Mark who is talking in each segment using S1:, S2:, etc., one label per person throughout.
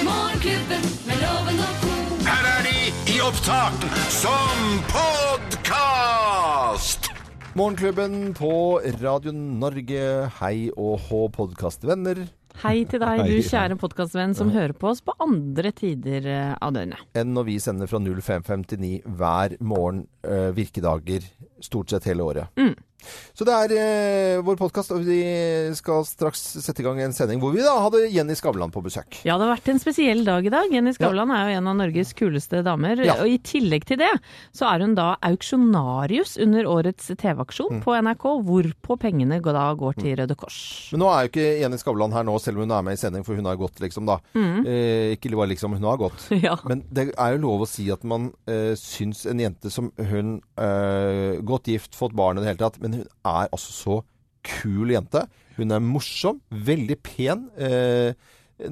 S1: Morgenklubben med loven og ko.
S2: Her er de i opptak som podkast!
S3: Morgenklubben på Radio Norge. Hei og hå, podkastvenner.
S4: Hei til deg, du kjære podkastvenn som hører på oss på andre tider eh, av døgnet.
S3: Enn når vi sender fra 0559 hver morgen eh, virkedager stort sett hele året. Så det er eh, vår podkast, og vi skal straks sette i gang en sending hvor vi da hadde Jenny Skavlan på besøk.
S4: Ja, det har vært en spesiell dag i dag. Jenny Skavlan er jo en av Norges kuleste damer.
S3: Ja.
S4: Og i tillegg til det, så er hun da auksjonarius under årets TV-aksjon
S3: Mm.
S4: på NRK, hvorpå pengene går- da går til Røde Kors.
S3: Men nå er jo ikke Jenny Skavlan her nå, selv om hun er med i sending, for hun har gått, liksom, da. Eh, ikke bare liksom, hun har gått.
S4: Ja.
S3: Men det er jo lov å si at man eh, syns en jente som hun eh, Godt gift, fått barn i det hele tatt, men hun er altså så kul jente. Hun er morsom, veldig pen, eh,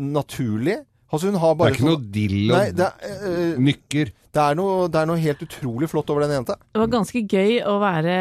S3: naturlig. Altså hun har
S5: Det
S3: bare
S5: er ikke noe
S3: sånn-
S5: dill
S3: Nei,
S5: og
S3: det er, eh,
S5: nykker.
S3: det, er noe, det er noe helt utrolig flott over den jenta.
S4: Det var ganske gøy å være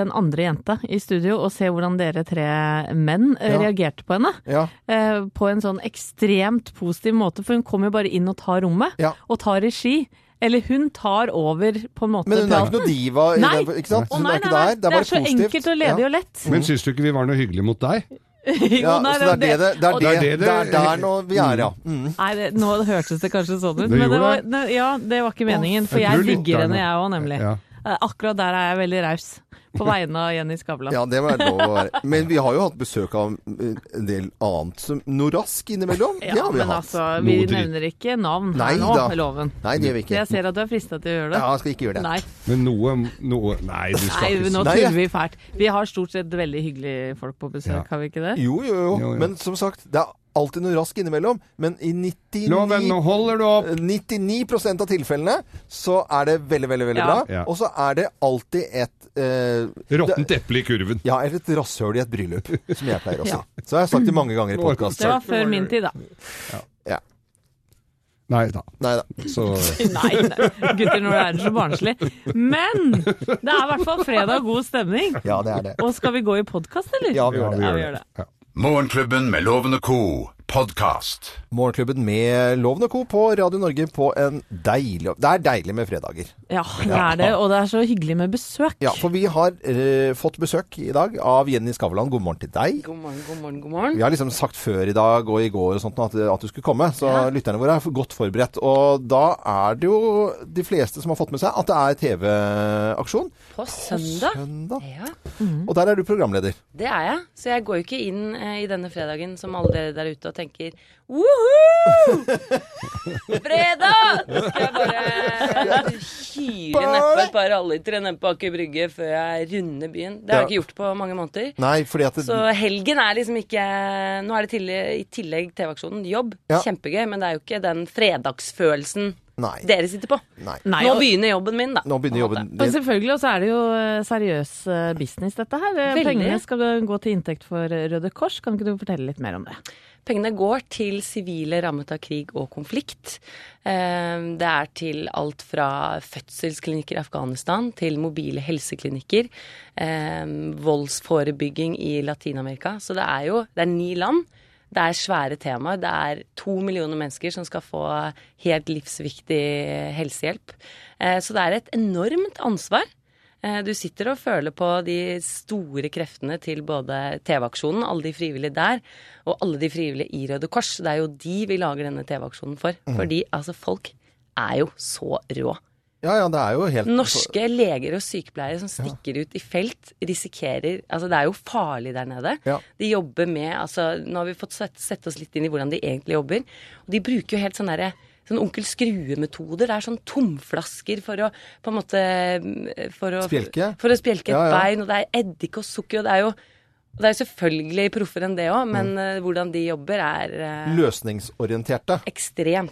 S4: den andre jenta i studio og se hvordan dere tre menn eh,
S3: Ja.
S4: reagerte på henne.
S3: Ja.
S4: eh, på en sånn ekstremt positiv måte, for hun kommer jo bare inn og tar rommet,
S3: Ja.
S4: og tar regi. Eller hun tar over på en måte
S3: Men hun er ikke
S4: praten.
S3: noe diva. i
S4: Nei!
S3: den- ikke sant?
S4: Å,
S3: Hun
S4: nei,
S3: er ikke
S4: nei, nei.
S3: der. Det er bare
S4: så
S3: positivt.
S4: enkelt og ledig
S3: Ja.
S4: og lett.
S5: Men syns du ikke vi var noe hyggelige mot deg?
S4: Jo,
S3: Ja,
S4: nei,
S3: så det er det det, det,
S4: og
S3: er, det,
S5: det-
S3: det er der nå vi er, ja. Mm.
S4: Nei, det, nå hørtes det kanskje sånn ut,
S5: Det
S4: men det var,
S5: gjorde
S4: ne, ja, det var ikke meningen. For
S5: Jeg
S4: jeg
S5: tror litt
S4: digger
S5: der
S4: henne,
S5: nå.
S4: jeg òg, nemlig.
S5: Ja.
S4: Eh, Akkurat der er jeg veldig raus. På vegne av Jenny Skavlan.
S3: Ja, det må være lov å være. Men vi har jo hatt besøk av eh, en del annet. som- Noe rask innimellom.
S4: Ja,
S3: det har vi
S4: men
S3: hatt.
S4: altså, vi
S5: Noe dritt.
S4: nevner ikke navn her
S3: Nei
S4: nå,
S3: da.
S4: loven.
S3: Nei, det gjør vi ikke.
S4: Jeg ser at du er frista til å gjøre det.
S3: Ja, jeg skal ikke gjøre det.
S4: Nei.
S5: Men noe, noe Nei, du skal
S4: Nei,
S5: ikke
S4: nå tuller
S3: Nei, jeg-
S4: vi fælt. Vi har stort sett veldig hyggelige folk på besøk,
S5: Ja.
S4: har vi ikke det?
S3: Jo, jo,
S5: Jo,
S3: jo,
S5: jo.
S3: Men som sagt, det er alltid noe rask innimellom. Men i 99
S5: Loven, nå holder du opp!
S3: 99 av tilfellene så er det veldig, veldig veldig
S4: Ja.
S3: bra.
S5: Ja.
S3: Og så er det alltid et eh,
S5: Råttent eple i kurven.
S3: Ja, eller et rasshøl i et bryllup, som jeg pleier å si.
S4: Ja.
S3: Så har jeg sagt det mange ganger i podkast.
S4: Det var før min tid, da.
S3: Ja.
S5: Nei da.
S3: Nei da.
S5: Så
S4: Nei, nei. gutter, når det er så barnslig. Men det er i hvert fall fredag og god stemning.
S3: Ja, det er det.
S4: Og skal vi gå i podkast, eller?
S3: Ja, vi gjør
S5: ja,
S3: det.
S5: vi gjør
S4: gjør
S5: det. Ja.
S2: Morgenklubben med Loven og co. podkast.
S3: Morgenklubben med Loven og Co. på Radio Norge på en deilig Det er deilig med fredager.
S4: Ja, det er det. Og det er så hyggelig med besøk.
S3: Ja, for vi har eh, fått besøk i dag av Jenny Skavlan. God morgen til deg.
S4: God morgen, god morgen, god morgen.
S3: Vi har liksom sagt før i dag og i går og sånt at, at du skulle komme, så lytterne våre er godt forberedt. Og da er det jo de fleste som har fått med seg at det er TV-aksjon.
S6: På søndag?
S3: Søndag.
S6: Ja,
S3: Og der er du programleder.
S6: det er jeg. Så jeg går jo ikke inn eh, i denne fredagen som alle dere der ute og tenker Woho! Fredag! Så skal jeg bare hyre neppe et par hallitre nede på Aker Brygge før jeg runder byen. Det har jeg ikke gjort på mange måneder.
S3: Nei, fordi at
S6: Så helgen er liksom ikke Nå er det tillegg, i tillegg TV-aksjonen jobb.
S3: Ja.
S6: Kjempegøy, men det er jo ikke den fredagsfølelsen
S3: Nei.
S6: dere sitter på.
S3: Nei.
S4: Nei,
S6: Nå
S4: og-
S6: begynner jobben min, da.
S3: Nå begynner jobben
S4: Og selvfølgelig, og så er det jo eh, seriøs eh, business dette her. Eh,
S6: Veldig.
S4: Pengene skal gå til inntekt for eh, Røde Kors. Kan ikke du fortelle litt mer om det?
S6: Pengene går til sivile rammet av krig og konflikt. Eh, Det er til alt fra fødselsklinikker i Afghanistan til mobile helseklinikker. eh, Voldsforebygging i Latin-Amerika. Så det er jo det er ni land. Det er svære temaer. Det er to millioner mennesker som skal få helt livsviktig helsehjelp. Eh, Så det er et enormt ansvar. Eh, Du sitter og føler på de store kreftene til både TV-aksjonen, alle de frivillige der, og alle de frivillige i Røde Kors. Det er jo de vi lager denne TV-aksjonen for. Fordi altså, folk er jo så rå.
S3: Ja, ja, det er jo helt
S6: Norske leger og sykepleiere som stikker ut i felt, risikerer Altså, det er jo farlig der nede.
S3: Ja.
S6: De jobber med Altså, nå har vi fått sett- sette oss litt inn i hvordan de egentlig jobber. Og de bruker jo helt sånn derre Sånn Onkel Skrue-metoder. Det er sånn tomflasker for å på en måte mm, for å,
S3: Spjelke?
S6: For å spjelke et
S3: Ja, ja.
S6: bein, og det er eddik og sukker, og det er jo og det er jo selvfølgelig proffer enn det òg, men
S3: Mm.
S6: eh, hvordan de jobber, er eh,
S3: løsningsorienterte.
S6: ekstremt.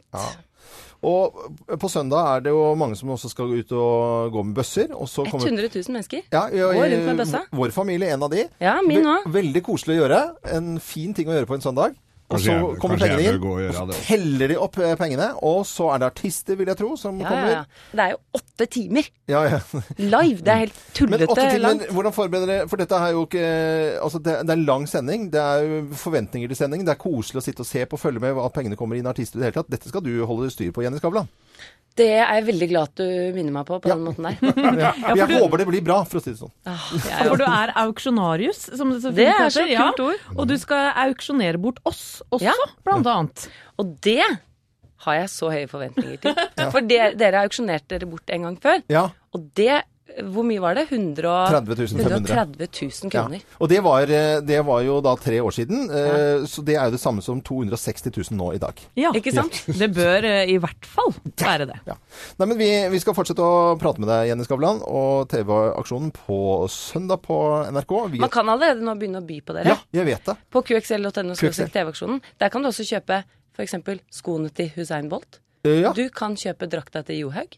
S3: Og på søndag er det jo mange som også skal ut og gå med bøsser. Og så kommer
S6: 100 000 mennesker
S3: Ja, ja,
S6: går rundt med
S3: eh,
S6: bøssa.
S3: Vår familie, en av de.
S6: Ja, min
S3: Ve-
S6: òg.
S3: Veldig koselig å gjøre. En fin ting å gjøre på en søndag. Og
S5: Kanskje
S3: så
S5: jeg-
S3: kommer
S5: kanskje jeg
S3: pengene inn,
S5: bør gå og
S3: og
S5: gjøre
S3: så
S5: det også.
S3: teller de opp eh, pengene. Og så er det artister, vil jeg tro, som
S6: Ja, ja,
S3: kommer.
S6: ja. Det er jo åtte timer
S3: Ja, ja.
S6: live! Det er helt
S3: Mm. Men åtte
S6: tullete
S3: timer,
S6: langt.
S3: hvordan forbereder dere For dette er jo ikke Altså, det, det er en lang sending. Det er jo forventninger til sendingen. Det er koselig å sitte og se på, følge med at pengene kommer inn, artister i det hele tatt. Dette skal du holde styr på, Jenny Skavlan.
S6: Det er jeg veldig glad at du minner meg på på den måten der.
S3: jeg håper det blir bra, for å si det sånn.
S6: Ah, jeg er
S4: For du er auksjonarius, som det så fint
S6: Det er så
S4: heter. ja.
S6: kult ord.
S4: Og du skal auksjonere bort oss også,
S6: Ja.
S4: blant annet.
S6: Og det har jeg så høye forventninger til. For det, dere auksjonerte dere bort en gang før.
S3: Ja.
S6: Og det Hvor mye var det? 100 og-
S3: 30 500.
S6: 130 000 kroner.
S3: Ja. Og det var, eh, det var jo da tre år siden, eh, så det er jo det samme som 260 000 nå i dag.
S4: Ja.
S6: Ikke sant?
S4: Det bør eh, i hvert fall være det.
S3: Ja. Nei, men vi, vi skal fortsette å prate med deg, Jenny Skavlan, og TV-aksjonen på søndag på NRK. Vi,
S6: Man kan allerede nå begynne å by på dere.
S3: ja, jeg vet det.
S6: På qxl.no
S3: QXL.
S6: TV-aksjonen. Der kan du også kjøpe f.eks. skoene til Hussein Bolt.
S3: Eh, Ja.
S6: Du kan kjøpe drakta til Johaug.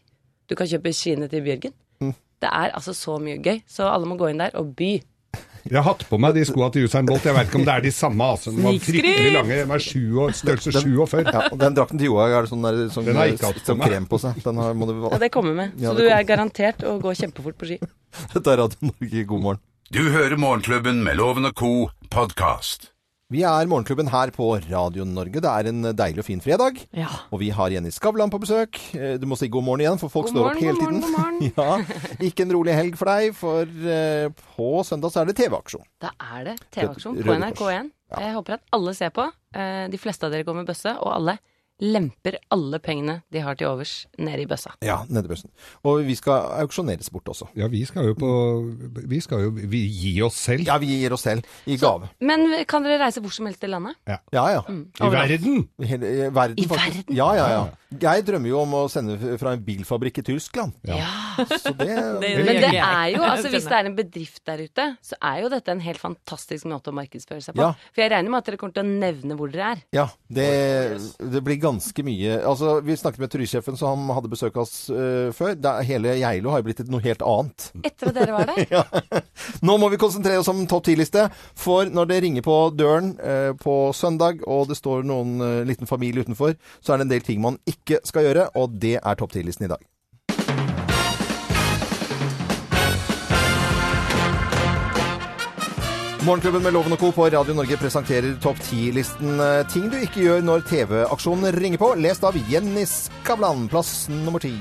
S6: Du kan kjøpe skiene til Bjørgen.
S3: Mm.
S6: Det er altså så mye gøy, så alle må gå inn der og by.
S5: Jeg har hatt på meg de skoa til Usain Bolt. Jeg vet ikke om det er de samme. Altså. De var
S4: Snikskryt!
S5: fryktelig lange. De var sju og, størrelse 47.
S3: Ja, og den drakten til Johaug er det sånn, der, sånn,
S5: Den har jeg ikke hatt på
S3: sånn
S5: meg.
S3: krem på seg. Den har, må du,
S6: Ja, det kommer med.
S3: Ja,
S6: Så
S3: det
S6: du
S3: kommer.
S6: er garantert å gå kjempefort på ski.
S3: Dette er Radio Norge, god morgen.
S2: Du hører Morgenklubben med Loven og Co. podkast.
S3: Vi er Morgenklubben her på Radio Norge. Det er en deilig og fin fredag.
S4: Ja.
S3: Og vi har Jenny Skavlan på besøk. Eh, Du må si god morgen igjen, for folk
S6: God
S3: står opp
S6: morgen,
S3: hele
S6: god
S3: tiden.
S6: morgen,
S3: ja, ikke en rolig helg for deg, for eh, på søndag så er det TV-aksjon.
S6: Da er det TV-aksjon
S3: Røde
S6: på
S3: Kors.
S6: NRK1. Jeg håper at alle ser på. Eh, De fleste av dere går med bøsse, og alle lemper alle pengene de har til overs, ned i bøssa.
S3: Ja, nede i bussen. Og vi skal auksjoneres bort også.
S5: Ja, vi skal jo på Vi skal jo vi gi oss selv.
S3: Ja, vi gir oss selv i gave.
S6: Men kan dere reise hvor som helst i landet?
S3: Ja, ja.
S6: Mm.
S5: I verden!
S3: Hele, eh, verden,
S6: I
S3: faktisk.
S6: verden?
S3: Ja, ja, ja. Jeg drømmer jo om å sende f- fra en bilfabrikk i Tyskland.
S6: Ja.
S3: Så det,
S4: Det-
S6: Men det
S4: gjør ikke
S6: er
S4: jeg.
S6: jo, altså hvis det
S4: Skjønner.
S6: er en bedrift der ute, så er jo dette en helt fantastisk måte å markedsføre seg på.
S3: Ja.
S6: For jeg regner med at dere kommer til å nevne hvor dere er.
S3: ja, det, det blir ganske mye Altså, vi snakket med turistsjefen som hadde besøk av oss eh, før. Det, er- hele Geilo har jo blitt et- noe helt annet.
S6: Etter at dere var der.
S3: Ja. Nå må vi konsentrere oss om topp 10-liste, for når det ringer på døren eh, på søndag, og det står noen eh, liten familie utenfor, så er det en del ting man ikke skal gjøre, og det er topp 10-listen i dag. Morgenklubben med Loven og Co. på Radio Norge presenterer topp 10-listen eh, ting du ikke gjør når TV-aksjonen ringer på, lest av Jenny Skavlan, plass nummer ti.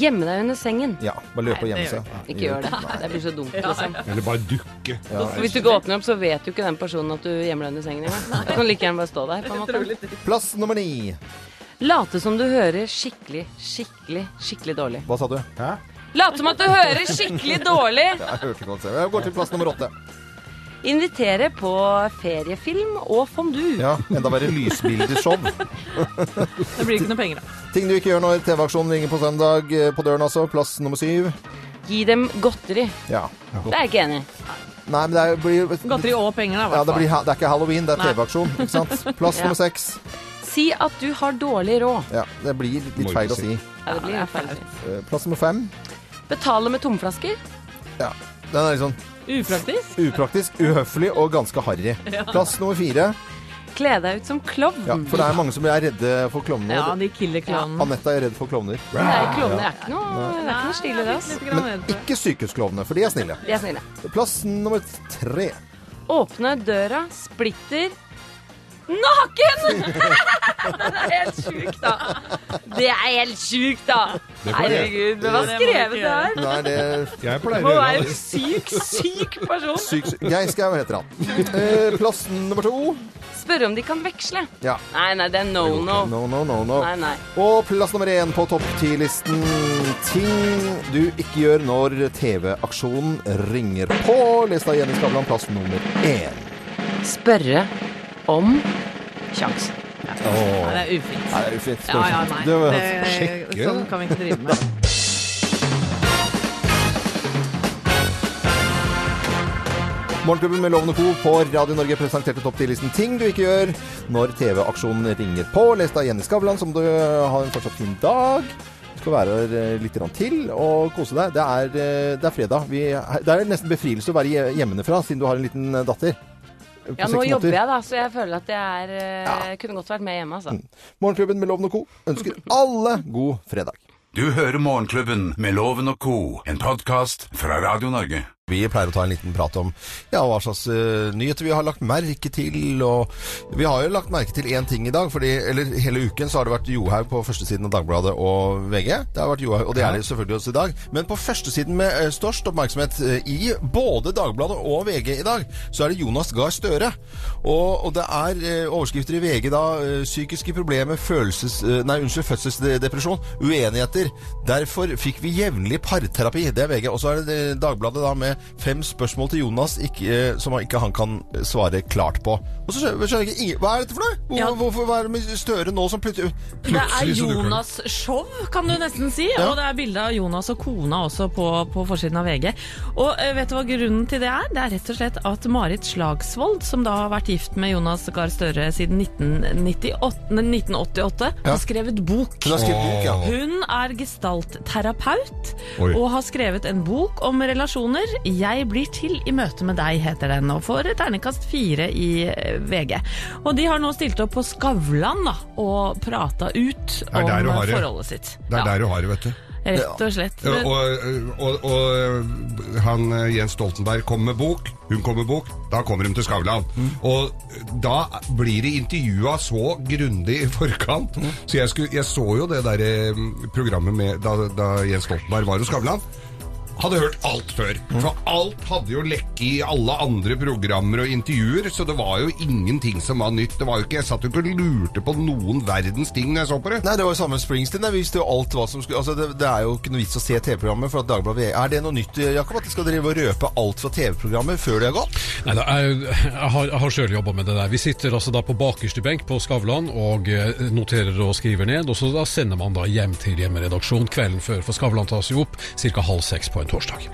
S6: Gjemme deg under sengen.
S3: Ja, bare løpe og gjemme
S4: det gjør
S3: seg.
S6: Ikke gjør det. Det blir så dumt, liksom.
S5: Eller bare dukke.
S6: Hvis du ikke åpner opp, så vet jo ikke den personen at du gjemmer deg under sengen engang. Du kan like gjerne bare stå der, på en måte.
S3: Plass nummer ni.
S6: Late som du hører skikkelig, skikkelig, skikkelig dårlig.
S3: Hva sa du? Hæ?
S6: Late som at du hører skikkelig dårlig!
S3: Jeg hørte ikke hva han sa. Jeg går til plass nummer åtte.
S6: Invitere på feriefilm og fondue.
S3: Ja, enda verre lysbildeshow.
S4: Det blir ikke noe penger av.
S3: Ting du ikke gjør når TV-aksjonen ringer på søndag. eh, På døren altså, plass nummer syv.
S6: Gi dem godteri.
S3: Ja.
S6: Det er jeg ikke enig i.
S3: Nei, men det er- blir
S4: Godteri og penger, da. i
S3: ja,
S4: hvert
S3: det,
S4: fall.
S3: blir, ha- det er ikke halloween, det er
S4: Nei.
S3: TV-aksjon. ikke sant? Plass nummer seks.
S6: Si at du har dårlig råd.
S3: Ja, det blir
S5: Må
S3: litt
S5: ikke
S3: feil å
S5: si.
S3: si.
S6: Ja, det
S4: Ja,
S6: blir i hvert fall
S4: det er
S6: fint.
S3: Eh, Plass nummer fem.
S6: Betale med tomflasker.
S3: Ja. Den er litt sånn
S4: Upraktisk.
S3: upraktisk, uhøflig og ganske harry. Plass nummer fire.
S6: Kle deg ut som klovn.
S3: Ja, for det er mange som er redde for klovner.
S4: Ja, de killer klovnen.
S3: Anette er redd for klovner.
S6: Det er klovner. Det er ikke noe, det er ikke noe stilig i det. ass.
S3: Men
S4: eh,
S3: ikke sykehusklovnene, for de er snille.
S6: De er snille.
S3: Plass nummer tre.
S6: Åpne døra, splitter Naken! Den er helt sjuk, da. Det er helt sjukt, da.
S5: Det får jeg.
S6: Herregud,
S4: Det
S6: hvem har
S4: må du ikke
S6: skrevet det her?
S3: Nei, det
S5: Jeg
S6: Det
S5: pleier å
S6: må
S5: gjøre
S6: være en
S5: det.
S6: syk, syk person.
S3: Syk, syk. Geir Skau heter han. Eh, plass nummer to.
S6: Spørre om de kan veksle.
S3: Ja.
S6: Nei, nei, det er no no.
S3: No, no, no, no.
S6: Nei, nei.
S3: Og plass nummer én på topp ti-listen. Ting du ikke gjør når TV-aksjonen ringer på. Lest av Jenny Skavlan, plass nummer én.
S6: Spørre om sjans.
S4: Nei, det er ufint.
S3: Nei, det er ufint.
S4: Ja, ja, nei.
S3: Det var-
S4: Det-
S5: Sjekke.
S4: Sånn kan vi ikke drive med.
S3: Morgenklubben med Lovende Co. på Radio Norge presenterte topp ti-listen ting du ikke gjør når TV-aksjonen ringer på. Lest av Jenny Skavlan, som du har en fortsatt fin dag. Du skal være her eh, litt grann til og kose deg. Det er, eh, det er fredag. Vi, det er nesten befrielse å være hje- hjemmefra, siden du har en liten eh, datter. på
S6: Ja,
S3: seks
S6: nå
S3: måneder.
S6: jobber jeg, da, så jeg føler at jeg er, eh, kunne godt vært med hjemme, altså.
S3: Morgenklubben med Loven og Co. ønsker alle god fredag.
S2: Du hører Morgenklubben med Loven og Co., en podkast fra Radio Norge.
S3: Vi pleier å ta en liten prat om ja, hva slags eh, nyheter vi har lagt merke til. Og vi har jo lagt merke til én ting i dag, fordi, eller hele uken så har det vært Johaug på førstesiden av Dagbladet og VG. Det har vært Johaug, Og det er det selvfølgelig også i dag. Men på førstesiden med eh, størst oppmerksomhet eh, i både Dagbladet og VG i dag, så er det Jonas Gahr Støre. Og, og det er eh, overskrifter i VG da. eh, Psykiske problemer, følelses... eh, Nei, unnskyld, fødselsdepresjon, uenigheter. Derfor fikk vi jevnlig parterapi. Det er VG. Og så er det eh, Dagbladet da med fem spørsmål til Jonas ikke, eh, som han- ikke han kan eh, svare klart på. Og så skjønner skjønner jeg ikke ingen- Hva er dette for noe? Hvor,
S4: Ja.
S3: Hvorfor hva er det med Støre nå som plutselig
S4: Det er
S5: Plutselig så dukker den.
S4: Jonas' show, kan du nesten si.
S3: Ja.
S4: Og det er bilde av Jonas og kona også på, på forsiden av VG. Og eh, vet du hva grunnen til det er? Det er rett og slett at Marit Slagsvold, som da har vært gift med Jonas Gahr Støre siden 1998, nei, 1988,
S3: Ja.
S4: har skrevet bok.
S3: Hun har skrevet bok, ja.
S4: Hun er gestaltterapeut
S5: Oi.
S4: og har skrevet en bok om relasjoner. 'Jeg blir til i møte med deg', heter den, og får terningkast fire i eh, VG. Og de har nå stilt opp på Skavlan da, og prata ut
S5: er
S4: om
S5: der du
S4: eh,
S5: har det.
S4: forholdet sitt.
S5: Det er
S4: ja,
S5: der du har det, vet du.
S4: rett og slett.
S5: Ja, Og, og, og han eh, Jens Stoltenberg kom med bok, hun kom med bok, da kommer de til Skavlan. Og da blir de intervjua så grundig i forkant. Så jeg, skulle, jeg så jo det der eh, programmet med, da, da Jens Stoltenberg var hos Skavlan. Hadde hørt alt før. For alt hadde jo lekket i alle andre programmer og intervjuer, så det var jo ingenting som var nytt. Det var jo ikke, Jeg satt jo ikke og lurte på noen verdens ting når jeg så på det.
S3: Nei, det var jo samme med Springsteen. der. Vi visste jo alt hva som skulle Altså, det, det er jo ikke noe vits å se TV-programmet, for at Dagbladet VG Er det noe nytt, Jakob, at de skal drive og røpe alt fra TV-programmet før det har gått?
S7: Nei, da, jeg, jeg har, jeg har sjøl jobba med det der. Vi sitter altså da på bakerste benk på Skavlan og eh, noterer og skriver ned. og så da sender man da hjem til hjemmeredaksjon kvelden før, for Skavlan tas jo opp ca. halv seks på en torsdag.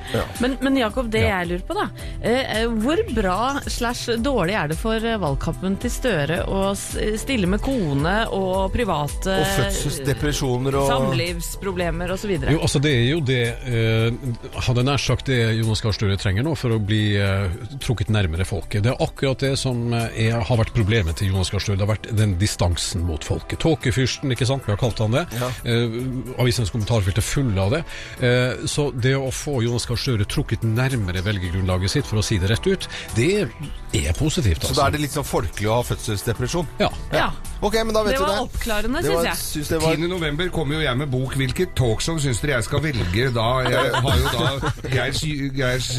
S4: Men, men Jakob, det
S7: Ja.
S4: jeg lurer på da, eh, eh, hvor bra slash dårlig er det for eh, valgkampen til Støre å s- stille med kone og private
S3: Og fødselsdepresjoner og
S4: Samlivsproblemer osv.
S7: Jo, altså Det er jo det eh, Hadde nær sagt det Jonas Gahr Støre trenger nå for å bli eh, trukket nærmere folket. Det er akkurat det som eh, er, har vært problemet til Jonas Gahr Støre. Det har vært den distansen mot folket. Tåkefyrsten, ikke sant? Vi har kalt han det. Eh, avisens kommentarfelt er fulle av det. Eh, så det å få Jonas Gahr Støre trukket nærmere velgergrunnlaget sitt, for å si det rett ut, det er positivt.
S3: Så
S7: altså.
S3: da er det litt sånn folkelig å ha fødselsdepresjon.
S7: Ja.
S4: Ja.
S3: Ok, men da vet
S4: Det
S3: vi
S4: var
S3: det.
S4: oppklarende,
S3: Det var-
S4: synes jeg.
S3: synes det var
S5: 10. november kommer jo jeg med bok. Hvilket talkshow syns dere jeg skal velge da? Jeg har jo da Geirs, Geirs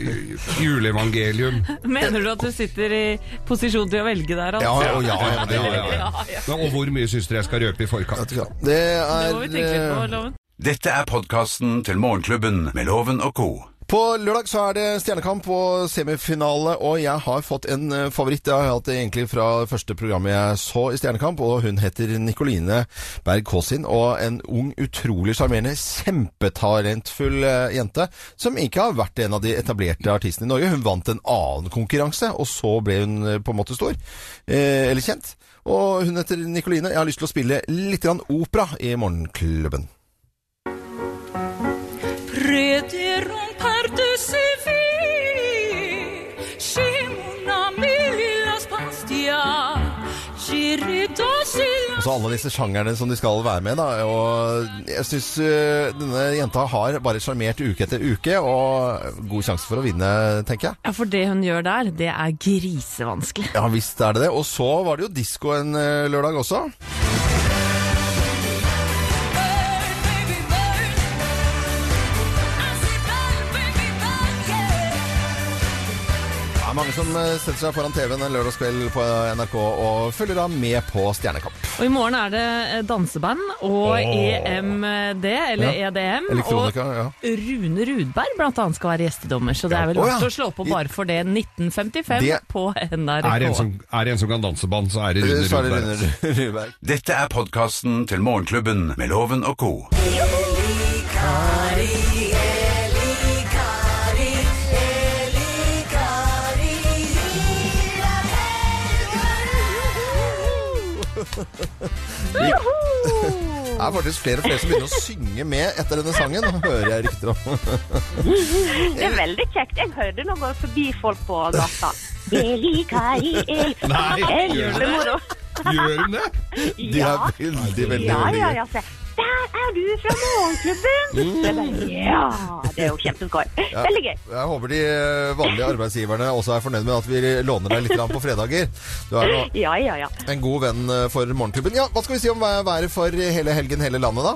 S5: eh, juleevangelium.
S4: Mener du at du sitter i posisjon til å velge der?
S3: Ja,
S4: Altså?
S3: ja, ja, ja, det,
S5: Ja, ja, ja. Men, Og hvor mye syns dere jeg skal røpe i forkant?
S3: ja. det
S4: Det må vi tenke litt på,
S3: er eh,
S4: Loven.
S2: Dette er podkasten til Morgenklubben med Loven og Co.
S3: På lørdag så er det stjernekamp og semifinale, og jeg har fått en eh, favoritt. Jeg har hatt det egentlig fra første programmet jeg så i Stjernekamp, og hun heter Nikoline Berg Kaasin. Og en ung, utrolig sjarmerende, kjempetalentfull eh, jente som ikke har vært en av de etablerte artistene i Norge. Hun vant en annen konkurranse, og så ble hun eh, på en måte stor. eh, Eller kjent. Og hun heter Nikoline. Jeg har lyst til å spille litt grann opera i Morgenklubben.
S1: Prêteront par de ses filles chez mon ami Las Pastia. J'irai danser
S3: Og så alle disse sjangerne som de skal være med, da. Og jeg syns denne jenta har bare sjarmert uke etter uke, og god sjanse for å vinne, tenker jeg.
S4: Ja, For det hun gjør der, det er grisevanskelig.
S3: Ja visst er det det. Og så var det jo disko en eh, lørdag også.
S1: Burn, baby, burn. I say burn, baby, burn, yeah.
S3: Det er mange som eh, setter seg foran TV-en en lørdagskveld på NRK og følger da med på Stjernekamp.
S4: Og i morgen er det eh, danseband og EMD, eller
S3: Ja.
S4: EDM. Og
S3: Elektronika, ja.
S4: Rune Rudberg blant annet skal være gjestedommer, så det er vel
S3: Ja. Å,
S4: lov
S3: ja.
S4: til å slå på bare for det 1955
S3: Det-
S4: på NRK.
S5: Er det en som, er det en som kan danseband, så er det Rune
S3: Så er det
S5: Rudberg.
S3: Rune Rudberg.
S2: Dette er podkasten til Morgenklubben med Loven og Co.
S3: Det er faktisk flere og flere som begynner å synge med etter denne sangen, hører jeg rykter om.
S8: Det er veldig kjekt. Jeg hører det når jeg går forbi folk på gata. Eli Kariel.
S5: Nei, gjør det?
S8: Kjempemoro.
S5: Gjør hun det?
S3: De er veldig, veldig
S8: Ja, ja,
S3: rolige.
S8: ja. Se. Der er du fra Morgenklubben!
S3: Mm.
S8: Så jeg bare, Ja, det er jo kjempeskår. Veldig gøy.
S3: Jeg håper de eh, vanlige arbeidsgiverne også er fornøyd med at vi låner deg litt grann på fredager. Du er nå
S8: Ja, ja, ja.
S3: en god venn eh, for morgenklubben. Ja, Hva skal vi si om væ- været for hele helgen, hele landet, da?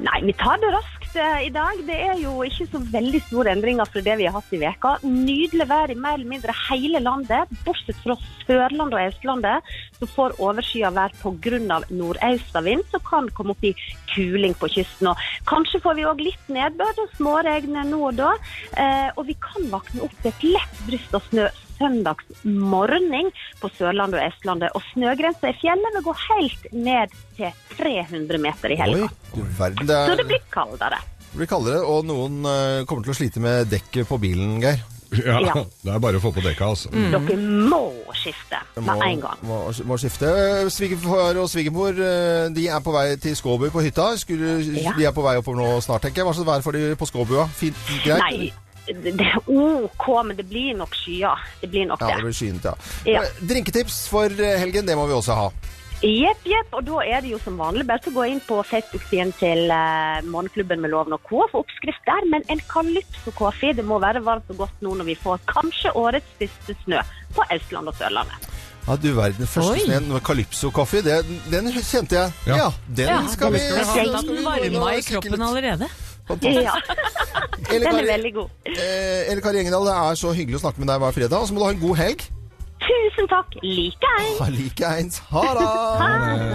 S8: Nei, vi tar det raskt eh, i dag. Det er jo ikke så veldig store endringer fra det vi har hatt i veka. Nydelig vær i mer eller mindre hele landet, bortsett fra Sørlandet og Østlandet, som får overskyet vær pga. nordøstavind, som kan komme opp i kuling på kysten. Og kanskje får vi òg litt nedbør og småregn nå og da. Eh, og vi kan våkne opp til et lett bryst av snø søndags morgen på Sørlandet og Østlandet. Og snøgrensa i fjellene går helt ned til 300 meter i helga.
S3: Oi, du verden.
S8: Så det
S3: Det
S8: blir kaldere.
S3: er- blir kaldere, og noen eh, kommer til å slite med dekket på bilen, Geir.
S5: Ja,
S8: Ja.
S5: Det er bare å få på dekka, altså.
S9: Mm.
S8: Dere må skifte med en gang.
S3: Mm. Må, må skifte. Eh, Svigerfar og svigermor eh, de er på vei til Skåbu på hytta. Skulle,
S8: Ja.
S3: De er på vei oppover nå snart, tenker jeg. Hva slags vær får de på Skåbua? Fint? Greit?
S8: Nei, det det er OK, men det blir nok skyer. Det blir nok
S3: Ja, det
S8: det.
S3: blir skynet, ja.
S8: Ja.
S3: Eh, Drinketips for eh, helgen, det må vi også ha.
S8: Jepp, jepp. Og da er det jo som vanlig bare til å gå inn på Facebook-siden til eh, Morgenklubben med Loven og Co. og få oppskrift der. Men en kalypso-kaffe, det må være varmt og godt nå når vi får kanskje årets siste snø på Østlandet og Sørlandet.
S3: Ja, du verden. Første
S4: Oi.
S3: sneen med Calypso-kaffe, det- den kjente jeg.
S5: Ja.
S3: Ja, den
S4: Ja,
S3: skal vi
S4: jeg
S3: ha.
S4: kjente at
S3: skal vi
S4: den
S3: gå
S4: varma
S3: og
S4: i
S3: kikke litt.
S4: kroppen allerede.
S3: Fantastisk.
S8: Ja,
S3: Eller
S8: den
S3: Kari-
S8: er veldig god.
S3: eh, Eller Kari Engedal, det er så hyggelig å snakke med deg hver fredag. Og så må du ha en god helg.
S8: Tusen takk. Likeens.
S3: Ha likeens. Ha det!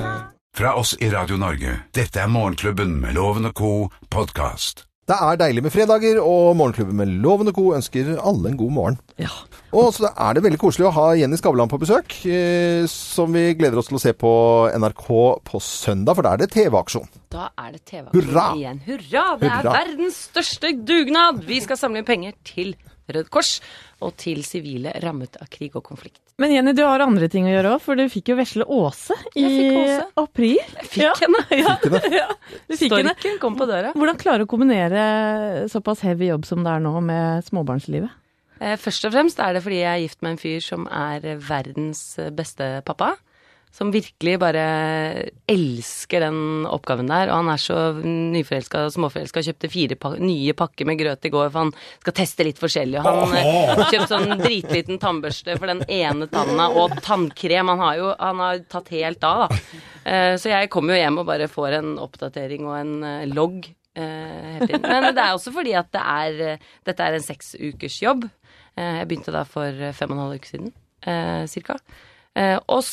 S2: Fra oss i Radio Norge. Dette er Morgenklubben med Loven og co. podkast.
S3: Det er deilig med fredager, og Morgenklubben med Lovende Co ønsker alle en god morgen.
S4: Ja.
S3: Og så er det veldig koselig å ha Jenny Skavlan på besøk, eh, som vi gleder oss til å se på NRK på søndag, for da er det TV-aksjon.
S6: Da er det
S3: Hurra!
S6: TV-aksjon igjen. Hurra! Det er
S3: Hurra.
S6: verdens største dugnad! Vi skal samle inn penger til Rød Kors og til sivile rammet av krig og konflikt.
S4: Men Jenny, du har andre ting å gjøre òg, for du fikk jo vesle Åse i
S6: Jeg fikk Åse.
S4: april.
S6: Jeg fikk henne!
S4: Ja, du fikk henne.
S6: Storken kom på døra.
S4: Hvordan klare å kombinere såpass heavy jobb som det er nå med småbarnslivet?
S6: Eh, Først og fremst er det fordi jeg er gift med en fyr som er eh, verdens eh, beste pappa. Som virkelig bare elsker den oppgaven der. Og han er så nyforelska og småforelska. Kjøpte fire pa nye pakker med grøt i går, for han skal teste litt forskjellig. Og han eh, har kjøpt sånn dritliten tannbørste for den ene tanna, og tannkrem. Han har jo han har tatt helt av, da. Eh, Så jeg kommer jo hjem og bare får en oppdatering og en eh, logg. eh, hele tiden. Men det er også fordi at det er, eh, dette er en seks ukers jobb. Eh, Jeg begynte da for eh, fem og en halv uke siden, eh, cirka. Eh, og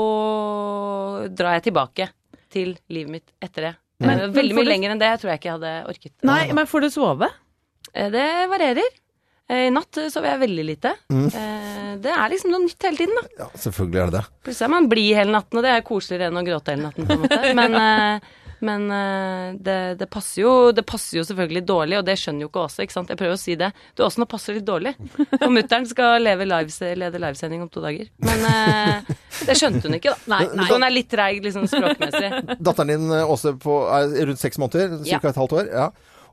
S6: så drar jeg tilbake til livet mitt etter det. Eh,
S4: Men- men
S6: Veldig
S4: får
S6: mye
S4: du-
S6: lenger enn det jeg tror jeg ikke jeg hadde orket.
S4: Nei, men får du sove?
S6: Eh, Det varierer. Eh, I natt eh, sover jeg veldig lite.
S4: Mm.
S6: Eh, Det er liksom noe nytt hele tiden, da.
S3: Ja, selvfølgelig er det det.
S6: Plutselig er man blid hele natten, og det er koseligere enn å gråte hele natten, på en måte. Men, eh, men eh, det, det, passer jo, det passer jo selvfølgelig dårlig, og det skjønner jo ikke Åse, ikke sant. Jeg prøver å si det. Du, Åse, nå passer det litt dårlig. Og mutter'n skal leve lives, lede livesending om to dager. Men eh, det skjønte hun ikke, da.
S4: nei.
S6: Så hun er litt treig liksom språkmessig.
S3: Datteren din eh, Åse på, er rundt seks måneder, ca.
S6: Ja.
S3: et halvt år. ja.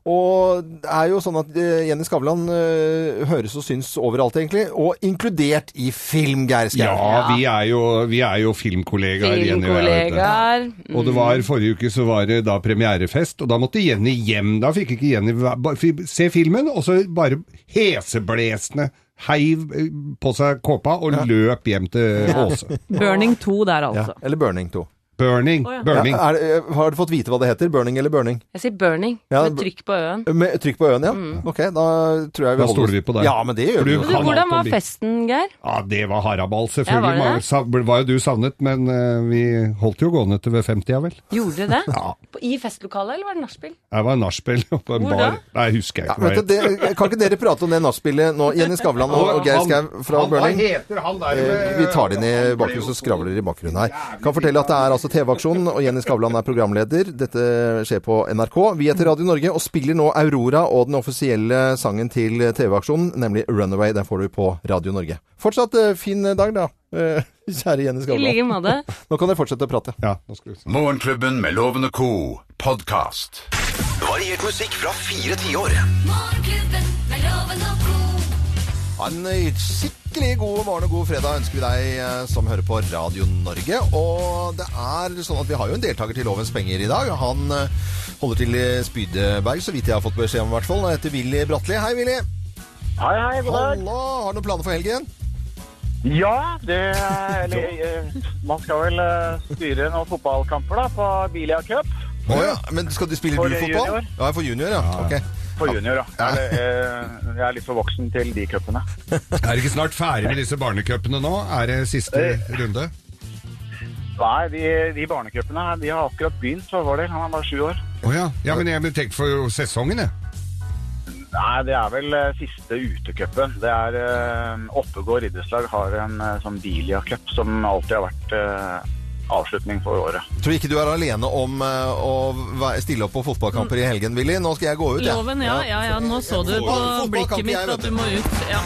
S3: Og det er jo sånn at eh, Jenny Skavlan eh, høres og syns overalt, egentlig. Og inkludert i film, Geir Skau.
S5: Ja, vi er jo, vi er jo filmkollegaer. Jenny og jeg, vet du.
S6: Filmkollegaer.
S5: Og det var forrige uke så var det da premierefest, og da måtte Jenny hjem. Da fikk ikke Jenny væ- ba- fi- se filmen, og så bare heseblesende heiv eh, på seg kåpa og løp hjem til Åse.
S6: Mm.
S4: Burning 2 der,
S3: Ja.
S4: altså.
S3: Eller Burning 2.
S5: Burning.
S4: Å, ja.
S5: Burning.
S3: Ja, er, det- eh, har du fått vite hva det heter? Burning eller burning?
S6: Jeg sier burning,
S3: Ja,
S6: med
S3: bu-
S6: trykk på øen.
S3: Med trykk på ø-en, ja?
S6: Mm.
S3: Ok, da tror jeg vi
S5: Da stoler vi på deg.
S3: Ja, men det
S5: For
S3: gjør vi
S5: du
S3: jo.
S6: Du,
S5: kan
S6: hvordan
S5: alt om
S6: var
S5: bil.
S6: festen, Geir?
S5: Ja, det var haraball,
S6: Ja, var
S5: selvfølgelig.
S6: det
S5: Mange
S6: det?
S5: sa- var jo du savnet, men eh, vi holdt jo gående til ved 50, ja vel.
S6: Gjorde dere det? På- I festlokalet, eller var det nachspiel?
S5: Jeg var nachspiel på en
S6: Hvor
S5: bar.
S6: da?
S5: Nei, husker jeg
S3: Ja,
S5: ikke. hva
S3: vet du, det, kan ikke dere prate om det nachspielet nå? Jenny Skavlan og, og Geir Skau fra
S5: han,
S3: Burning.
S5: Hva heter han der?
S3: Eh, Vi tar det inn i bakgrunnen og skravler i bakgrunnen her. Kan fortelle at det er altså TV-aksjonen, og Jenny Skavlan er programleder. Dette skjer på NRK. Vi heter Radio Norge og spiller nå Aurora og den offisielle sangen til TV-aksjonen, nemlig Runaway. Den får du på Radio Norge. Fortsatt eh, fin dag, da. eh, Kjære
S6: I
S3: Jenny
S6: like
S3: Skavlan.
S6: måte.
S3: Nå kan dere fortsette å prate.
S5: Ja, nå skal vi se.
S2: Morgenklubben med Loven og co. podkast.
S9: Variert musikk fra fire tiår.
S1: Morgenklubben med Loven og Co.
S3: Ha en eh, skikkelig god morgen og god fredag ønsker vi deg eh, som hører på Radio Norge. Og det er sånn at vi har jo en deltaker til Lovens penger i dag. Han eh, holder til i Spydeberg, så vidt jeg har fått beskjed om i hvert fall. Han heter Willy Bratli. Hei, Willy.
S9: Hei, hei, god dag.
S3: Halla! Har du noen planer for helgen?
S9: Ja, det Eller eh, man skal vel eh, styre noen fotballkamper, da, på Bilia Cup.
S3: Å ja. Men skal du spille
S9: For
S3: du fotball?
S9: junior.
S3: Ja, for junior, ja. Ok.
S9: For junior, da. Jeg, eh, jeg er litt for voksen til de cupene.
S5: Er det ikke snart ferdig med disse barnecupene nå? Er det siste runde?
S9: Nei, de, de barnecupene de har akkurat begynt for vår del. Han er bare sju år.
S5: Å ja. ja, men jeg tenkte for sesongen, jeg.
S9: Nei, det er vel eh, siste utecupen. Det er eh, Oppegård idrettslag har en eh, sånn Bilia Cup som alltid har vært eh, avslutning for året.
S3: Tror ikke du er alene om eh, å væ- stille opp på fotballkamper i helgen, Willy. Nå skal jeg gå ut, jeg.
S4: Loven, ja, ja, ja, nå så du på
S3: Fotball-
S4: blikket
S3: fotballkamp, jeg,
S4: mitt
S3: vet
S4: at du må ut. Ja.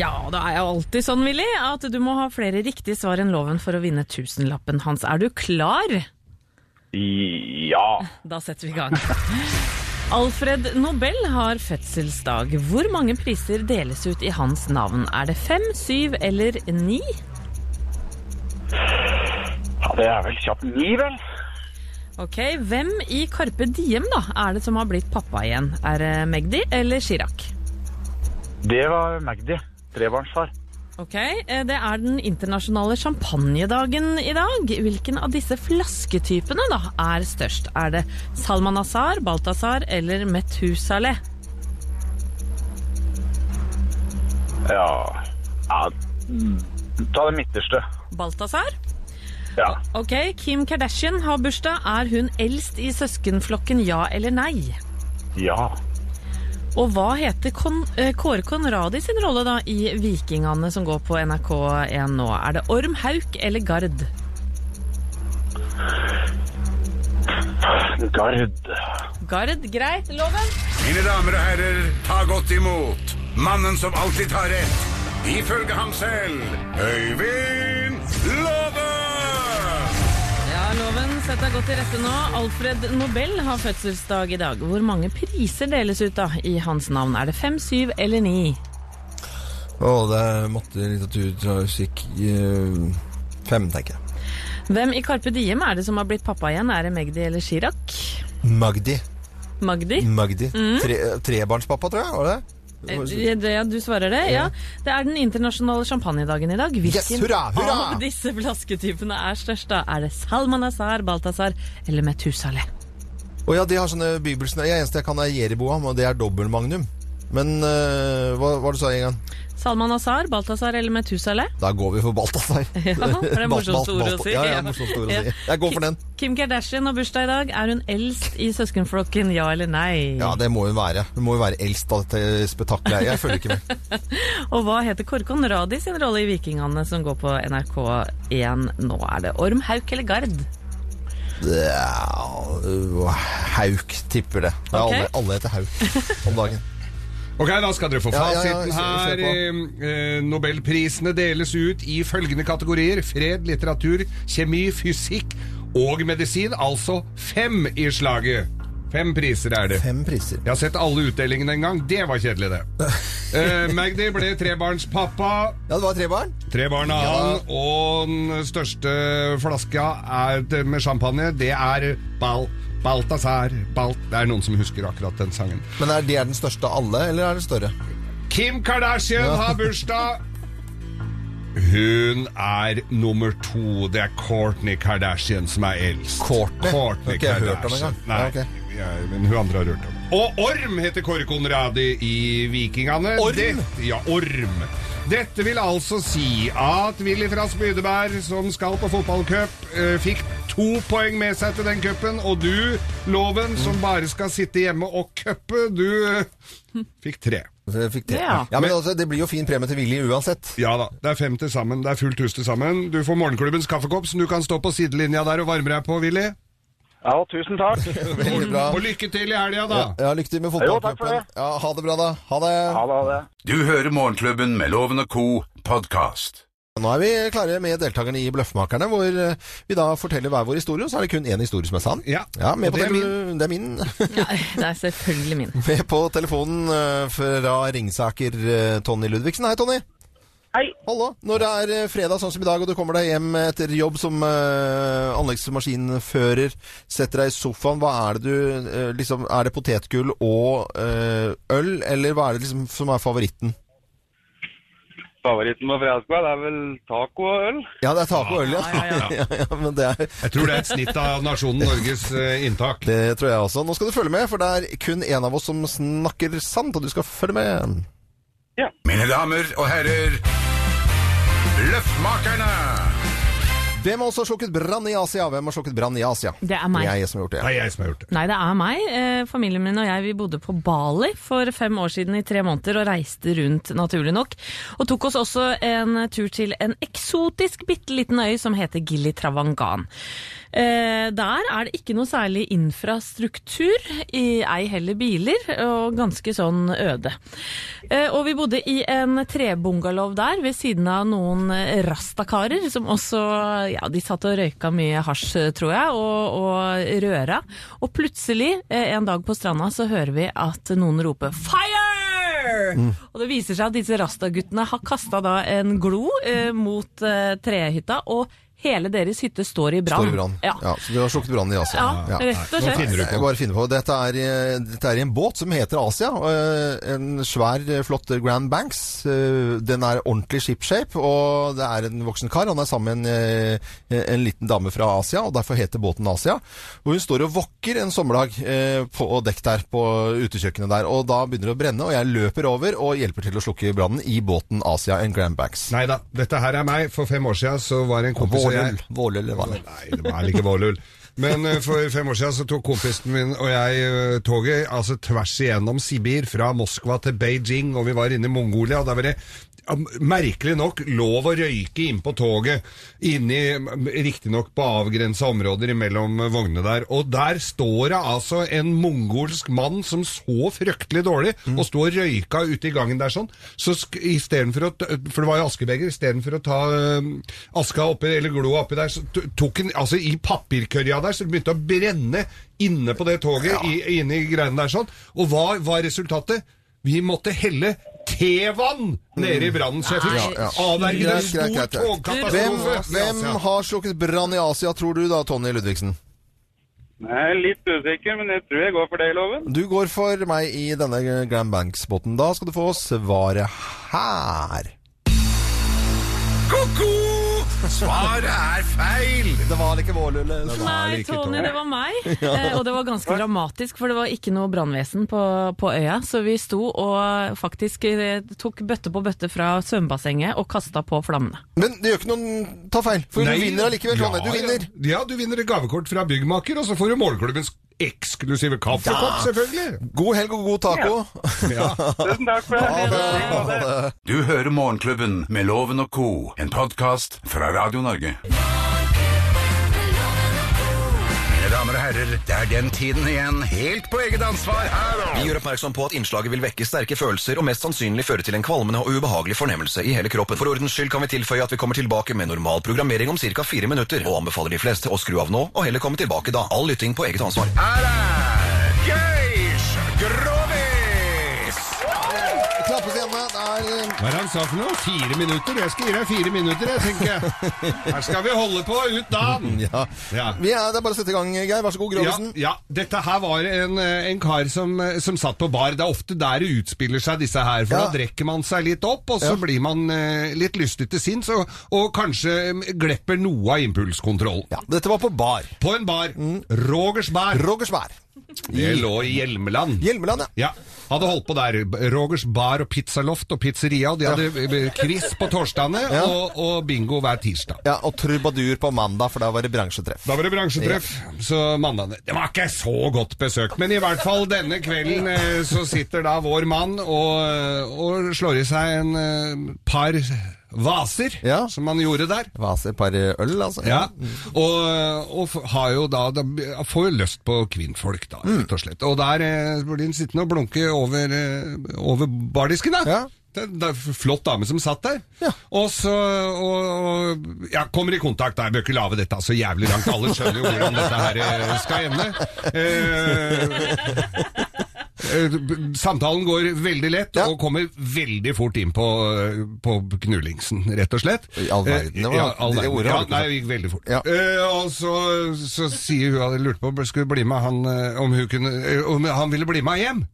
S4: Ja, det er jo alltid sånn, Willy, at du må ha flere riktige svar enn loven for å vinne tusenlappen hans. Er du klar?
S9: Ja.
S4: Da setter vi i gang. Alfred Nobel har fødselsdag. Hvor mange priser deles ut i hans navn? Er det fem, syv eller ni?
S9: ja det er vel kjapt ni, vel?
S4: Ok, hvem i Carpe Diem da er det som har blitt pappa igjen? Er det Magdi eller Chirac?
S9: Det var Magdi. Trebarnsfar.
S4: Ok, eh, det er den internasjonale champagnedagen i dag. Hvilken av disse flasketypene da er størst? Er det Salmanazar, Balthazar eller Methusaleh?
S9: Ja, ja mm, Ta det midterste.
S4: Balthazar?
S9: Ja.
S4: Ok, Kim Kardashian har bursdag. Er hun eldst i søskenflokken, ja eller nei?
S9: ja.
S4: Og hva heter Kon eh, Kåre Konradi sin rolle da i Vikingene som går på NRK1 nå? Er det Orm Hauk eller Gard?
S9: Gard.
S4: Gard, greit, loven.
S2: Mine damer og herrer, ta godt imot mannen som alltid tar rett, ifølge ham selv, Øyvind Låve!
S4: Ja, loven, sett deg godt til rette nå. Alfred Nobel har fødselsdag i dag. Hvor mange priser deles ut da i hans navn? Er det fem, syv eller ni?
S3: Å, det er matte, litteratur, trafikk eh, Fem, tenker jeg.
S4: Hvem i Carpe Diem er det som har blitt pappa igjen? Er det Magdi eller Chirac?
S3: Magdi.
S4: Magdi?
S3: Magdi.
S4: Mm.
S3: Tre, trebarnspappa, tror jeg. Var det det?
S4: Eh, Det, ja, du svarer det? Ja. Det er den internasjonale champagnedagen i dag.
S3: Yes, hurra, hurra!
S4: av disse flasketypene er størst? da? Er det Salmanazar, Balthazar eller Methusaleh?
S3: Å ja, de har sånne bibelsnø. Jeg eneste jeg kan er Jeriboam, og det er dobbel magnum. Men øh, hva var det du sa en gang?
S4: Salmanazar, Balthazar eller Methusaleh?
S3: Da går vi for Balthazar.
S4: Ja, det er
S3: Balt-
S4: morsomt
S3: Balt-
S4: ord å
S3: Balt-
S4: si.
S3: Ja, ja, morsomt ord å
S4: Ja.
S3: si. Jeg går for den.
S4: Kim Kardashian har bursdag i dag. Er hun eldst i søskenflokken, ja eller nei?
S3: Ja, det må hun være. Hun må jo være eldst av dette spetakkelet. Jeg følger ikke med.
S4: Og hva heter Korkon Radi sin rolle i Vikingene som går på NRK1 nå? Er det Orm, Hauk eller Gard?
S3: Ja, øh, Hauk tipper det.
S4: Ok.
S3: Ja, alle, alle heter Hauk om dagen.
S5: Ok, da skal dere få
S3: Ja, ja, ja,
S5: fasiten
S3: kjør-
S5: her. Eh, Nobelprisene deles ut i følgende kategorier. Fred, litteratur, kjemi, fysikk og medisin. Altså fem i slaget. Fem priser er det.
S3: Fem priser.
S5: Jeg har sett alle utdelingene en gang. Det var kjedelig, det. Eh, Magdi ble trebarnspappa.
S3: Ja, det var tre barn.
S5: Tre barn av han, og den største flaska er, med champagne, det er Bal Balthazar. Bal det er noen som husker akkurat den sangen.
S3: Men er det den største av alle, eller er det større?
S5: Kim Kardashian har bursdag. Hun er nummer to. Det er Kourtney Kardashian som er eldst.
S3: Kourtney?
S5: Kourtney
S3: Har ikke jeg hørt om
S5: Kardashian.
S3: engang.
S5: Nei,
S3: Ja, ok.
S5: ja, men hun andre har hørt om. Og Orm heter Kåre Konradi i Vikingene.
S3: Orm?
S5: Det, ja, Orm. Dette vil altså si at Willy fra Spydeberg, som skal på fotballcup, eh, fikk to poeng med seg til den cupen, og du, Loven, som
S3: Mm.
S5: bare skal sitte hjemme og cuppe, du eh, fikk tre.
S3: Så jeg fikk tre.
S4: Ja.
S3: Ja, men altså, Det blir jo fin premie til Willy uansett.
S5: Ja da, det er fem til sammen. Det er fullt hus til sammen. Du får morgenklubbens kaffekopp, så du kan stå på sidelinja der og varme deg på, Willy.
S9: Ja, tusen takk.
S3: Veldig bra.
S5: Og lykke til i helga, da!
S3: Ja, Lykke til med
S9: Jo, takk for
S3: fotballcupen.
S9: det.
S3: Ja, ha det bra, da. Ha det.
S9: Ha det, ha det.
S2: Du hører Morgenklubben med Loven og co. podkast.
S3: Nå er vi klare med deltakerne i Bløffmakerne, hvor eh, vi da forteller hver vår historie, og så er det kun én historie som er sann.
S5: Ja,
S3: med
S5: og
S3: på
S5: det er
S3: tele- det er min.
S4: Nei, det er selvfølgelig min.
S3: med på telefonen eh, fra Ringsaker, eh, Tonny Ludvigsen. Hei, Tonny.
S8: Hei.
S3: Hallo. Når det er eh, fredag sånn som i dag, og du kommer deg hjem etter jobb som eh, anleggsmaskinfører, setter deg i sofaen, hva er det du eh, liksom Er det potetgull og eh, øl, eller hva er det liksom som er favoritten?
S9: Favoritten på fredagskveld er vel taco og øl.
S3: Ja, det er taco og øl, ja.
S4: Ja, ja,
S3: ja, ja men det er
S5: Jeg tror det er et snitt av nasjonen Norges eh, inntak.
S3: Det tror jeg også. Nå skal du følge med, for det er kun én av oss som snakker sant, og du skal følge med.
S2: Mine damer og herrer, Løffmakerne!
S3: Hvem av oss har slukket brann i Asia? Hvem har slukket brann i Asia?
S4: Det er meg.
S3: Det er jeg som har gjort det.
S5: Det er jeg som har gjort det.
S4: Nei, det er meg. Eh, Familien min og jeg vi bodde på Bali for fem år siden i tre måneder og reiste rundt, naturlig nok. Og tok oss også en tur til en eksotisk bitte liten øy som heter Gili Travangan. Eh, Der er det ikke noe særlig infrastruktur, i- ei heller biler, og ganske sånn øde. Eh, Og vi bodde i en trebungalow der, ved siden av noen eh, rastakarer som også Ja, de satt og røyka mye hasj, eh, tror jeg, og, og røra. Og plutselig, eh, en dag på stranda, så hører vi at noen roper 'fire'! Og det viser seg at disse rastaguttene har kasta da en glo eh, mot eh, trehytta, og hele deres hytte står i brann.
S3: Står i brann.
S4: Ja.
S3: Ja, så du har slukket brann i Asia.
S4: Ja, rett og
S5: Nå
S4: slett.
S5: finner du på.
S3: Jeg bare finner på. Dette er, eh, dette er i en båt som heter Asia. og, eh, En svær, eh, flott Grand Banks. Eh, Den er ordentlig shipshape, og det er en voksen kar. Han er sammen med en, eh, en liten dame fra Asia, og derfor heter båten Asia. Og hun står og vokker en sommerdag eh, på dekk der, på utekjøkkenet der. Og da begynner det å brenne, og jeg løper over og hjelper til å slukke brannen i båten Asia en Grand Banks.
S5: Nei da, dette her er meg. For fem år siden så var en kompis og jeg
S3: Vålull, eller hva det er.
S5: Nei, det var ikke vålull. Men eh, for fem år siden så tok kompisen min og jeg eh, toget altså tvers igjennom Sibir, fra Moskva til Beijing, og vi var inne i Mongolia, og der var det ja, merkelig nok lov å røyke inn på toget, inni riktignok på avgrensa områder imellom eh, vognene der. Og der står det altså en mongolsk mann som så fryktelig dårlig,
S3: Mm.
S5: og sto og røyka ute i gangen der sånn. Så sk i stedet for å, t- for det var jo askebeger, i stedet for å ta øhm, aska oppi, eller gloa oppi der, så t- tok han, altså i papirkørja der, så det begynte å brenne inne på det toget, i, inne i greiene der sånn. Og hva var resultatet? Vi måtte helle tevann nede i brannen, så jeg fikk
S3: Ja, ja.
S5: avverget en
S3: Greit, greit,
S5: stor
S3: greit, greit. Hvem,
S5: togkatastrofe.
S3: hvem
S5: Ja,
S3: har slukket brann i Asia, tror du da, Tonje Ludvigsen?
S9: Jeg er litt usikker, men jeg tror jeg går for det i loven.
S3: Du går for meg i denne Grand Banks-båten. Da skal du få svaret her.
S2: Ko-ko! Svaret er feil!
S3: Det var ikke vårlulle.
S4: Nei, Tony, det var meg. Eh, Og det var ganske dramatisk, for det var ikke noe brannvesen på, på øya. Så vi sto og faktisk eh, tok bøtte på bøtte fra svømmebassenget og kasta på flammene.
S3: Men det gjør ikke noen ta feil, for
S5: Nei.
S3: du vinner allikevel, Tonje. Du
S5: Ja,
S3: vinner.
S5: Ja, ja, du vinner et gavekort fra byggmaker, og så får du målklubbens eksklusive kaffekopp, selvfølgelig.
S3: God helg og god taco.
S9: Tusen takk for det.
S3: Ha det.
S2: Du hører Morgenklubben med Loven og Co., en podkast fra Radio Norge. Mine damer og herrer, det er den tiden igjen, helt på eget ansvar her
S10: Vi
S2: og
S10: gjør oppmerksom på at innslaget vil vekke sterke følelser og mest sannsynlig føre til en kvalmende og ubehagelig fornemmelse i hele kroppen. For ordens skyld kan vi tilføye at vi kommer tilbake med normal programmering om ca. fire minutter, og anbefaler de fleste å skru av nå og heller komme tilbake da. All lytting på eget ansvar.
S2: Her er Geish Grovis!
S3: Klappes igjen med. Det er eh,
S5: Hva er det han sa for noe? Fire minutter? Jeg skal gi deg fire minutter, jeg, tenker jeg. Her skal vi holde på ut dagen!
S3: ja.
S5: Ja.
S3: Vi er, det er bare å sette i gang, Geir. Vær så god,
S5: Ja,
S3: Grovesen.
S5: ja, dette her var en, eh, en kar som, eh, som satt på bar. Det er ofte der det utspiller seg, disse her. For
S3: Ja.
S5: da drikker man seg litt opp, og så
S3: Ja.
S5: blir man eh, litt lystig til sinns, og, og kanskje eh, glepper noe av impulskontrollen.
S3: Ja, Mm. dette var på bar.
S5: På en bar. Rogers bar.
S3: Rogers Vær.
S5: Det lå i Hjelmeland.
S3: Hjelmeland, ja.
S5: Ja, hadde holdt på der. Rogers bar og pizzaloft og pizzeria. og De hadde eh, quiz på torsdagene
S3: Ja.
S5: og, og bingo hver tirsdag.
S3: ja. Og trubadur på mandag, for da var det bransjetreff.
S5: Da var det bransjetreff, så mandagene Det var ikke så godt besøkt, men i hvert fall denne kvelden eh, så sitter da vår mann og, eh, og slår i seg en eh, par vaser,
S3: Ja.
S5: som han gjorde der.
S3: Vase, et par øl, altså.
S5: Ja, og, og f- har jo da, da får jo lyst på kvinnfolk da,
S3: Mm.
S5: rett og slett. Og der eh, blir den sittende og blunke over, eh, over bardisken da.
S3: Ja.
S5: Det det er en flott dame som satt der. Og så og, og, ja, kommer i kontakt. da. Jeg bør ikke lage dette så jævlig langt. Alle skjønner jo hvordan dette her eh, skal ende. Eh, eh, b- Samtalen går veldig lett
S3: Ja.
S5: og kommer veldig fort inn på, eh, på knullingsen, rett og slett. Eh,
S3: I all verden, det var-
S5: ja, all
S3: det
S5: verden.
S3: ordet
S5: ja,
S3: har du ikke
S5: nei,
S3: sagt.
S5: det gikk veldig fort.
S3: Ja.
S5: Eh, og så, så sier hun hadde lurt på om skulle bli med han, eh, om, hun kunne, eh, om han ville bli med hjem.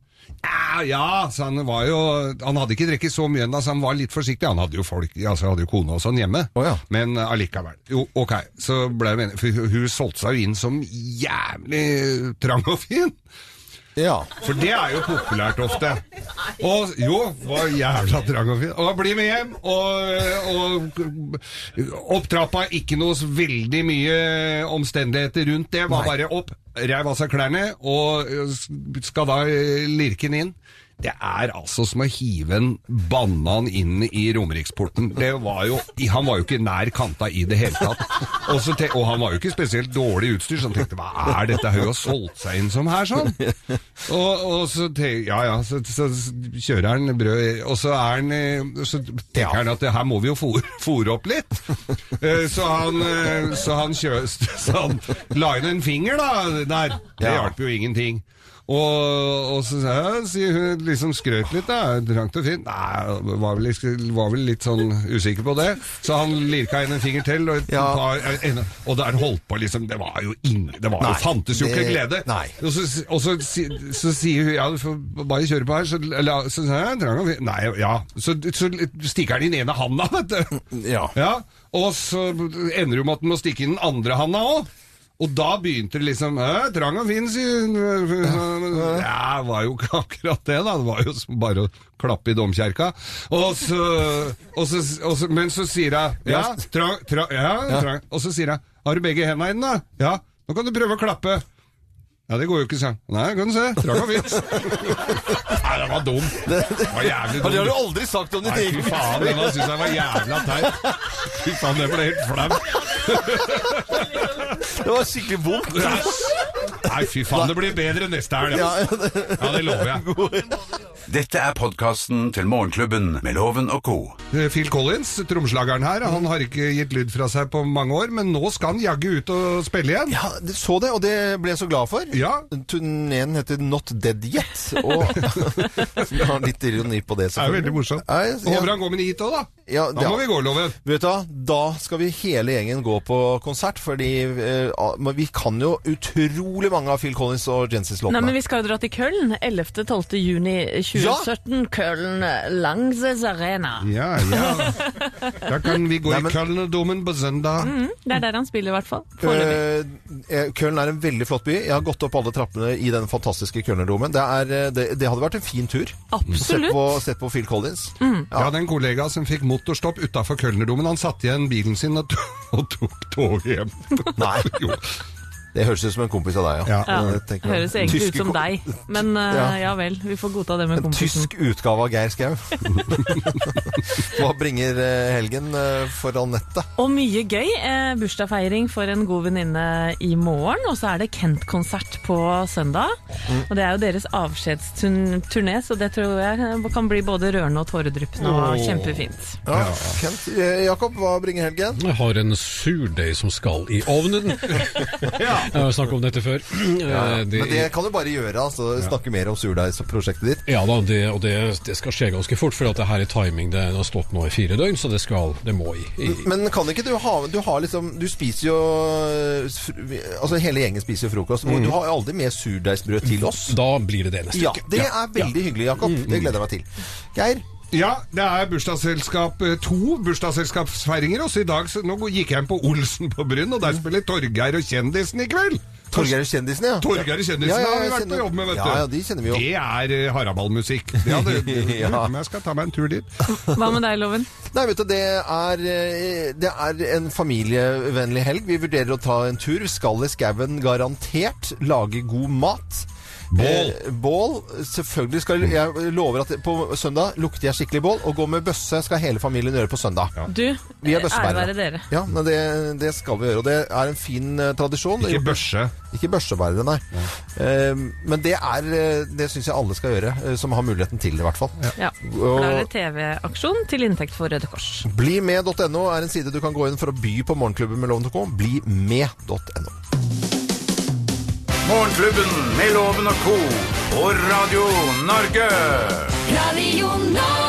S5: Ja, ja, så han var jo Han hadde ikke drikket så mye ennå, så han var litt forsiktig. Han hadde jo folk, altså hadde jo kone og sånn hjemme,
S3: Å ja.
S5: men allikevel. Jo, ok, så ble jeg enig. For hun- hun solgte seg jo inn som jævlig trang og fin.
S3: Ja.
S5: For det er jo populært ofte. Og jo, var jævla trang og fin. Og bli med hjem, og, og opp trappa, ikke noe så veldig mye omstendigheter rundt det. Var bare opp, reiv av seg klærne, og eh, skal da eh, lirke den inn. Det er altså som å hive en banan inn i Romeriksporten. Det var jo, han var jo ikke nær kanta i det hele tatt. Og, så te, og han var jo ikke spesielt dårlig utstyr, så han tenkte hva er dette hun har solgt seg inn som her, sånn? Og, og så te- ja, ja, så, så, så kjører han brød, og så er han eh, Så tenker han at det her må vi jo fôre, fôre opp litt. Eh, Så han, eh, så han, kjø, så han la inn en finger, da, der. Det
S3: Ja.
S5: hjalp jo ingenting. Og, og så sa jeg, sier hun liksom skrøt litt, da. Trangt og fint. Nei, var vel, litt- var vel litt sånn usikker på det. Så han lirka inn en finger til, og,
S3: Ja.
S5: og, og der holdt på liksom Det var jo ingen Det var,
S3: Nei,
S5: jo- fantes jo ikke
S3: det-
S5: glede.
S3: nei.
S5: Og så, og så, si- så sier hun ja, du får bare kjøre på her. Så, la- så, sa jeg, trang og fin. Nei, ja. Så, så stikker han inn ene handa, vet du.
S3: Ja.
S5: Ja, og så ender det jo med at den må stikke inn den andre handa òg. Og da begynte det liksom «Hæ, Trang og fin, sier hun. Ja, det var jo ikke akkurat det, da. Det var jo som bare å klappe i domkjerka. Og så, og så, og så Men så sier jeg Ja, trang, tra, ja, Trang. Og så sier jeg Har du begge henda inne, da? Ja. Nå kan du prøve å klappe. Ja, det går jo ikke, sa han. Nei, kan du se. Trang og fin. Nei, den var dum. Det var jævlig dum.
S3: aldri sagt om
S5: Nei, fy faen, den syns jeg var jævla teit. Fy faen, det ble helt flaut.
S3: Det var skikkelig vondt.
S5: Nei, fy faen, det blir bedre neste helg.
S3: Ja,
S5: altså. Ja, det lover jeg.
S2: Dette er podkasten til Morgenklubben med Loven og co.
S5: Phil Collins, tromslageren her, han har ikke gitt lyd fra seg på mange år, men nå skal han jaggu ut og spille igjen.
S3: ja, det- så det, og det ble jeg så glad for.
S5: Ja.
S3: Turneen heter Not Dead Yet, og vi har litt ironi på det,
S5: Det er jo veldig
S3: selvfølgelig.
S5: morsomt.
S3: Nei,
S5: Og Håper han går med en hit òg, da.
S3: Ja,
S5: Da
S3: ja.
S5: må vi gå, Loven.
S3: Vet du hva, da skal vi hele gjengen gå på konsert, fordi eh, ah, men vi kan jo utrolig mange av Phil Collins og
S4: Nei, men
S3: Genesis-låtene.
S4: Vi skal jo dra til Køln 11.-12. juni 2017. Køln eh, Langses Arena.
S3: Mm.
S5: Ja, ja. Da kan vi gå i
S3: Nei, men- Mm.
S5: Kølnerdomen på søndag.
S4: Det er der han spiller, i hvert fall. Foreløpig.
S3: Eh, eh, Køln er en veldig flott by. Jeg har gått opp alle trappene i den fantastiske Kølnerdomen. Det, er, eh, det, det hadde vært en fin tur. Sett på,
S4: Absolutt. Mm.
S3: sett på Phil Collins.
S5: Jeg hadde en kollega som fikk motorstopp utafor Kølnerdomen. Han satte igjen bilen sin og, to og tok toget hjem.
S3: Nei,
S5: Jo.
S3: det høres ut som en kompis av deg, ja.
S5: Ja.
S3: Jeg tenker-
S4: Høres egentlig
S3: Tysk-
S4: ut som deg, men eh,
S3: Ja.
S4: ja vel. Vi får godta det med
S3: En
S4: kompisen.
S3: tysk utgave av Geir Skau. Hva bringer eh, helgen eh, for Anette?
S4: Og mye gøy. Eh, bursdagsfeiring for en god venninne i morgen. Og så er det Kent-konsert på søndag. Og det er jo deres avskjedsturné, så det tror jeg eh, kan bli både rørende og tåredryppende og kjempefint.
S3: Ja. Kent, eh, Jakob, hva bringer helgen?
S7: Jeg har en surdeig som skal i ovnen. Jeg har snakket om dette før. Eh, det-
S3: Men det kan du bare gjøre, altså. Snakke mer om surdeigsprosjektet ditt.
S7: Ja da, det, og det, det skal skje ganske fort, for at det her er timing. Det har stått nå i fire døgn, så det skal, det må i. i
S3: Men kan ikke du ha Du har liksom Du spiser jo eh, fr- Altså hele gjengen spiser jo frokost. og
S5: Mm.
S3: Du har jo aldri med surdeigsbrød til oss.
S7: da blir det det neste
S3: Ja,
S7: uke.
S3: det er veldig hyggelig, Jakob.
S5: Mm.
S3: Det gleder jeg meg til. Geir?
S5: Ja, det er bursdagsselskap eh, to bursdagsselskapsfeiringer også i dag. Så nå gikk jeg inn på Olsen på Bryn, og der spiller Torgeir og Kjendisen i kveld.
S3: Mm. Torgeir og kjendisene, ja.
S5: Torgeir og Kjendisen
S3: Ja, ja,
S5: har vi
S3: jeg
S5: vært på
S3: kjenner-
S5: jobb med, vet du.
S3: Ja, ja, de kjenner vi jo.
S5: Det er eh, haraballmusikk. Det hadde,
S3: Ja.
S5: Men jeg skal ta meg en tur dit.
S4: Hva med deg, Loven?
S3: Nei, vet du, det er, eh, det er en familievennlig helg. Vi vurderer å ta en tur. Vi skal i skauen, garantert. Lage god mat.
S5: Bål.
S3: Eh, bål. Selvfølgelig skal Jeg lover at på søndag lukter jeg skikkelig bål, og går med bøsse skal hele familien gjøre på søndag.
S4: Du,
S3: Vi
S4: eh,
S3: er
S4: ære
S3: bøssebærere.
S4: være dere.
S3: Ja, men det, det skal vi gjøre, og det er en fin eh, tradisjon.
S5: Ikke børse.
S3: Ikke børsebærere, nei. Eh, men det er eh, Det syns jeg alle skal gjøre, eh, som har muligheten til det, i hvert fall.
S4: Ja. For da er det TV-aksjon til inntekt for Røde Kors.
S3: Blimed.no er en side du kan gå inn for å by på morgenklubben med Loven.co. Blimed.no.
S2: Morgenklubben med Loven og co. på Radio Norge.
S1: Radio Norge.